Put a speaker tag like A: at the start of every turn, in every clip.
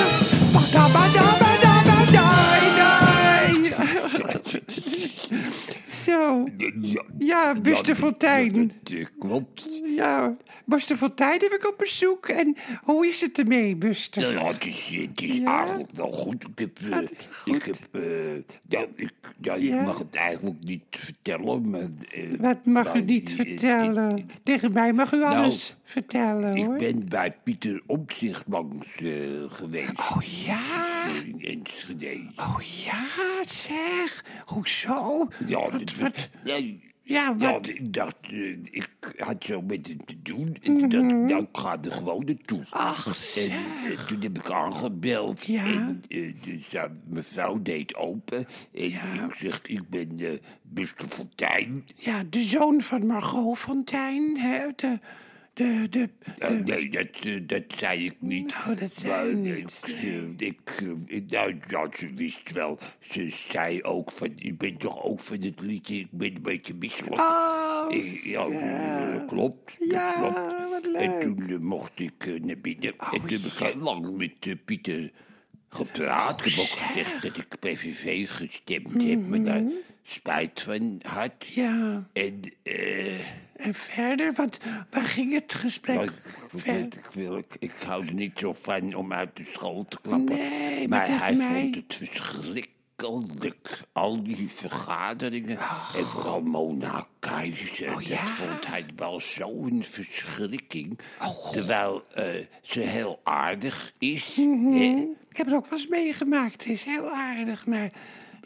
A: Ja,
B: Ja, Bus de Fontein.
A: dat, eh, klopt.
B: Ja, Buster Fontein heb ik op bezoek. En hoe is het ermee,
A: Nou
B: Buster?
A: ja, het is, het is
B: Ja.
A: eigenlijk wel goed. Ik heb, eh,
B: Gaat het
A: ik
B: goed?
A: heb, eh, nou, ik, nou, ik
B: Ja.
A: mag het eigenlijk niet vertellen, maar... eh,
B: Wat mag
A: nou,
B: u niet
A: eh,
B: vertellen?
A: ik- Nou,
B: Tegen mij mag u alles vertellen,
A: Ik
B: hoor.
A: ben bij Pieter Omtzigt langs eh, geweest. eh,
B: Oh ja?
A: In Enschede.
B: Oh ja, zeg. Hoezo?
A: Ja,
B: Wat-
A: dat-
B: wat-
A: nee,
B: Ja,
A: ja,
B: wat-
A: ik dacht, eh, ik had zo met hem te doen. En toen dacht ik, nou, ik ga er gewoon naartoe.
B: Mhm. Ach,
A: En
B: zeg.
A: eh, toen heb ik aangebeld.
B: Ja.
A: En eh, dus, ja, mevrouw deed open. En ik zeg, ik ben eh Buster Fontein.
B: Ja, de zoon van Margot Fontein. Hè? De, de, de,
A: Eh, nee, dat, eh, dat zei ik niet.
B: Nou, dat zei je
A: Maar, eh,
B: niet,
A: Ik, eh, ik, eh, ik- nou, ja, ze wist wel. Ze zei ook van, ik ben toch ook van het liedje, ik ben een beetje misselijk.
B: Oh,
A: Ik- ja, eh, klopt. dat
B: Ja,
A: klopt.
B: wat
A: En
B: leuk. Oh,
A: toen eh, mocht ik eh, naar binnen. en toen heb ik heel lang met eh, Pieter gepraat. ik heb ook gezegd dat ik PVV gestemd
B: Mhm.
A: heb, maar daar spijt van had.
B: ja.
A: En... eh,
B: En verder, wat, waar ging het gesprek
A: ja, Nou, ik, ik
B: ver-
A: weet- ik, wil, ik, ik hou er niet zo van om uit de school te klappen.
B: Nee, maar
A: maar
B: tegen
A: hij
B: mij-
A: vond het verschrikkelijk. Al die vergaderingen. en vooral Mona Keizer. dat
B: Oh, ja? Oh,
A: vond hij wel zo'n verschrikking. terwijl eh, ze heel aardig is.
B: Mhm.
A: hè?
B: Ik heb het ook wel eens meegemaakt. Het is heel aardig, maar...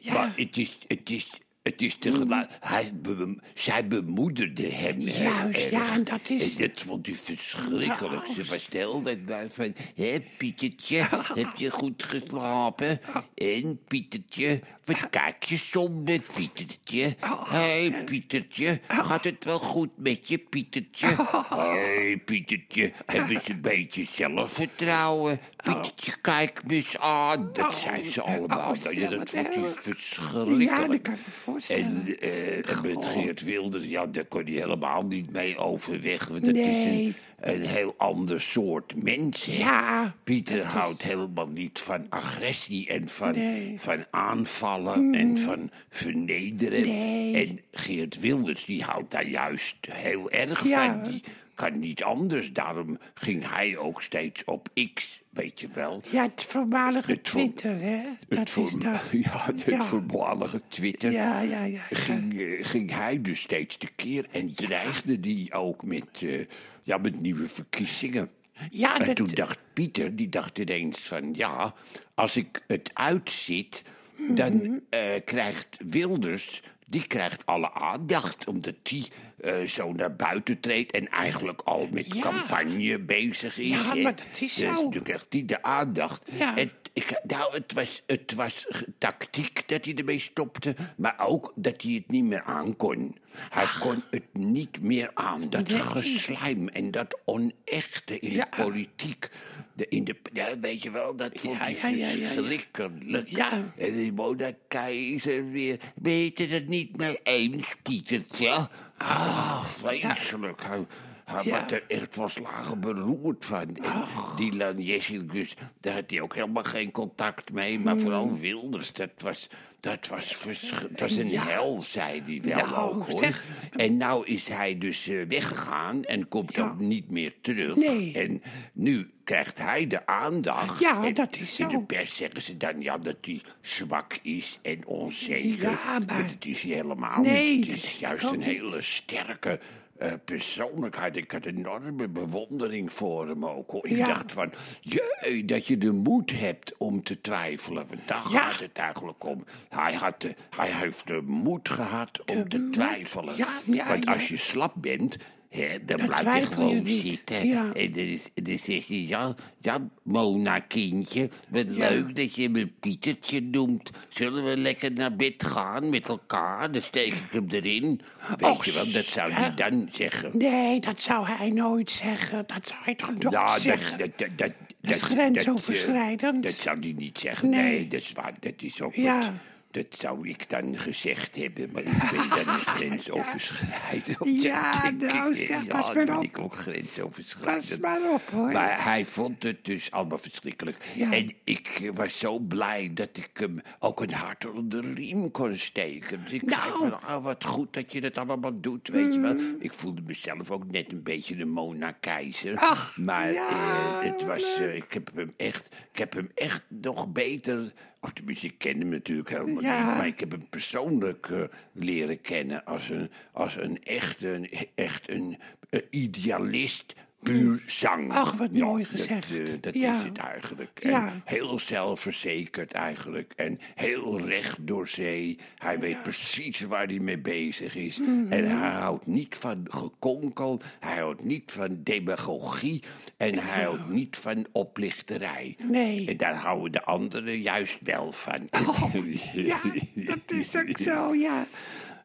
B: Ja, Mm.
A: Maar het is, het is, het is tegelijk. Hij be- zij bemoederde hem. heel
B: Juist,
A: erg.
B: ja, en dat is-
A: En dat vond hij verschrikkelijk. Ze was de hele tijd bij van. Hé, Pietertje, heb je goed geslapen?
B: Oh.
A: En Pietertje, wat kijk je somber, Pietertje?
B: Oh,
A: Hé, Pietertje, gaat het wel goed met je, Pietertje?
B: Oh.
A: Hé, Pietertje, heb eens een beetje zelfvertrouwen? Pietertje, kijk me eens aan. Dat zijn ze allemaal.
B: Oh. Oh,
A: Nou ja, dat vond hij
B: zelfvertrouwen.
A: verschrikkelijk.
B: Ja, dat kan ik me voorstellen.
A: En, eh, en met Geert Wilders, ja, daar kon hij helemaal niet mee overweg. Want dat is
B: Nee.
A: een, een heel ander soort mens. hè.
B: Ja,
A: Pieter houdt helemaal niet van agressie en van,
B: Nee. Mm.
A: van aanvallen en van vernederen.
B: Nee.
A: En Geert Wilders, die houdt daar juist heel erg
B: Ja.
A: van. Die kan niet anders. Daarom ging hij ook steeds op X, weet je wel.
B: ja het voormalige
A: Het voor-
B: Twitter, hè? dat
A: voor-
B: is dat.
A: Ja, het
B: Ja.
A: voormalige Twitter
B: Ja, ja, ja. ja.
A: ging, eh, ging hij dus steeds tekeer en dreigde die ook met, eh, ja, met nieuwe verkiezingen.
B: Ja,
A: en
B: dat-
A: toen dacht Pieter, die dacht ineens van ja, als ik het uitzit, dan
B: Mhm.
A: eh, krijgt Wilders, die krijgt alle aandacht. Omdat die eh, zo naar buiten treedt en eigenlijk al met
B: Ja.
A: campagne bezig is.
B: Ja,
A: hè.
B: maar dat is
A: dus
B: zo.
A: toen krijgt die de aandacht.
B: Ja.
A: En ik, nou, het was, het was ge- tactiek dat hij ermee stopte, maar ook dat hij het niet meer aan kon. Hij kon het niet meer aan, dat geslijm en dat onechte in de
B: Ja.
A: politiek. De, in de, ja, weet je wel, dat vond
B: Ja,
A: hij
B: ja, ja, ja, ja.
A: verschrikkelijk.
B: Ja.
A: En die Mona Keizer weer, ben je het er niet mee eens, Pietertje? Ah, vreselijk. Hij, hij
B: Ja. Ah.
A: werd er echt volslagen beroerd van. En Dylan Jessicus, daar had hij ook helemaal geen contact mee. Maar
B: Hmm.
A: vooral Wilders, dat was, dat was, versch- dat was een hel, zei hij wel
B: Ja,
A: ook, hoor.
B: Nou, zeg.
A: En nou is hij dus eh, weggegaan en komt ook niet meer terug.
B: Nee.
A: En nu krijgt hij de aandacht.
B: Ja,
A: En
B: dat is
A: In de
B: zo.
A: pers zeggen ze dan ja, dat hij zwak is en onzeker.
B: Ja, maar-
A: dat is hij helemaal
B: Nee,
A: niet.
B: dat
A: Het is
B: denk
A: juist
B: ik ook
A: een
B: niet.
A: hele sterke eh, persoonlijkheid. Ik had enorme bewondering voor hem ook. hoor. Ik
B: Ja.
A: dacht van, jee, dat je de moed hebt om te twijfelen. Want daar
B: Ja.
A: gaat het eigenlijk om. Hij, had de, hij heeft de moed gehad om te twijfelen.
B: Ja, ja,
A: Want
B: ja.
A: als je slap bent... hè, dan blijf je
B: twijfel je
A: gewoon
B: niet.
A: zitten.
B: Ja.
A: En dan, is, dan zegt hij, ja, ja, Mona kindje, wat leuk dat je me Pietertje noemt. Zullen we lekker naar bed gaan met elkaar? Dan steek ik hem erin. Weet
B: Ah, Och,
A: je wel, dat zou hij dan zeggen.
B: Nee, dat zou hij nooit zeggen. Dat zou hij toch nooit
A: dat,
B: zeggen?
A: dat, dat, dat,
B: is
A: dat-
B: grensoverschrijdend.
A: Dat, eh, dat zou hij niet zeggen. Nee,
B: Nee.
A: dat is waar. Dat is ook
B: Ja.
A: wat, Dat zou ik dan gezegd hebben, maar ik ben dan grensoverschrijdend.
B: Ja, nou zeg, pas maar
A: ben
B: op.
A: ik ook grensoverschrijdend.
B: Pas maar op, hoor.
A: Maar hij vond het dus allemaal verschrikkelijk.
B: Ja.
A: En ik eh, was zo blij dat ik hem ook een hart onder de riem kon steken. Dus ik zei
B: Nou. Mm.
A: van, ah, wat goed dat je dat allemaal doet, weet je wel. Ik voelde mezelf ook net een beetje de Mona Keizer.
B: Ach,
A: maar
B: ja,
A: eh,
B: wat
A: het was, eh, ik, heb hem echt, ik heb hem echt nog beter... Of tenminste, ik ken hem natuurlijk helemaal
B: Ja.
A: niet. Maar ik heb hem persoonlijk eh, leren kennen als een, als een echt een, echt een eh, idealist... Puur zang.
B: Ach, wat
A: Ja,
B: mooi
A: dat,
B: gezegd.
A: eh, Dat,
B: Ja.
A: is het eigenlijk. En
B: Ja.
A: Heel zelfverzekerd eigenlijk. En heel recht door zee. Hij weet precies waar hij mee bezig is.
B: Mhm.
A: En hij houdt niet van gekonkel. Hij houdt niet van demagogie. En hij houdt niet van oplichterij.
B: Nee. Oh,
A: En daar houden de anderen juist wel van.
B: Ja, dat is ook zo, ja.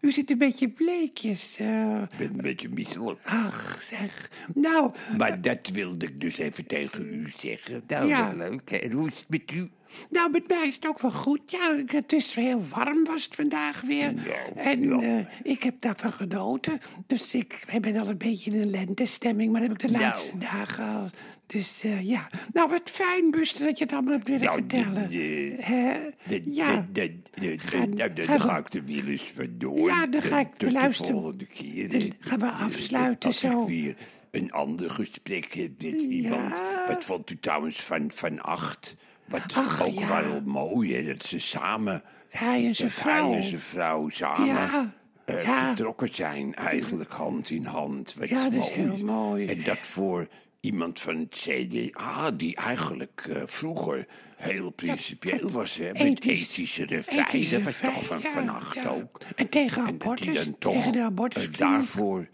B: U zit een beetje bleekjes. eh.
A: Ik ben een beetje misselijk.
B: Ach, zeg. Nou,
A: Maar dat wilde ik dus even tegen u zeggen.
B: is Ja. wel
A: leuk. En hoe is het met u?
B: nou, met mij is het ook wel goed. Ja, ik- het is heel warm was het vandaag weer.
A: Nou,
B: en
A: ja.
B: eh, ik heb daarvan genoten. Dus ik ben al een beetje in een lentestemming. Maar dat heb ik de
A: Nou.
B: laatste dagen al. Dus eh, ja. Nou, wat fijn, Buster, dat je het allemaal hebt willen
A: Nou,
B: vertellen.
A: de- de-
B: Hè?
A: De,
B: ja.
A: de, de, de,
B: Ga-
A: de- nou, dan
B: ga-
A: ga ik de wiel eens vandoor.
B: Ja, dan ga ik
A: Tot
B: luisteren.
A: de volgende keer.
B: Dan
A: hè.
B: gaan we
A: Eh,
B: afsluiten
A: Als
B: zo.
A: ik weer een ander gesprek heb met iemand. Wat vond u trouwens van, van acht? Wat
B: Ach,
A: ook
B: ja.
A: wel mooi, hè, dat ze samen,
B: Hij en zijn vrouw.
A: hij en zijn vrouw samen
B: Ja,
A: eh,
B: ja.
A: vertrokken zijn. Eigenlijk hand in hand. Wat
B: Ja, dat is
A: mooi.
B: heel mooi.
A: En dat voor... Iemand van het CDA, die eigenlijk eh, vroeger heel principieel was, hè, met
B: Ethisch-
A: ethische refijn. Dat was toch van
B: ja,
A: vannacht
B: ja.
A: ook.
B: En tegen
A: En dat die
B: abortus.
A: dan toch
B: tegen de
A: eh,
B: abortus.
A: daarvoor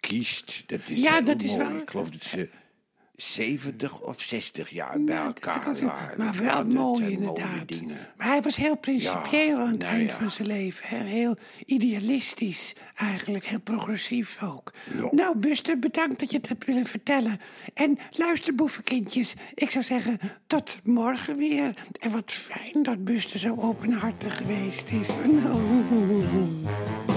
A: kiest, dat is
B: Ja,
A: heel
B: dat is
A: mooi.
B: wel-
A: Ik geloof dat ze 70 of 60 jaar bij elkaar waren.
B: maar wel
A: Ja, dat
B: mooi
A: zijn mooie
B: inderdaad.
A: dingen.
B: Maar hij was heel principieel
A: Ja,
B: aan het
A: nou
B: eind
A: ja.
B: van zijn leven. Hè? Heel idealistisch eigenlijk. Heel progressief ook.
A: Ja.
B: Nou, Buster, bedankt dat je het hebt willen vertellen. En luister, boevenkindjes. Ik zou zeggen, tot morgen weer. En wat fijn dat Buster zo openhartig geweest is. Nou.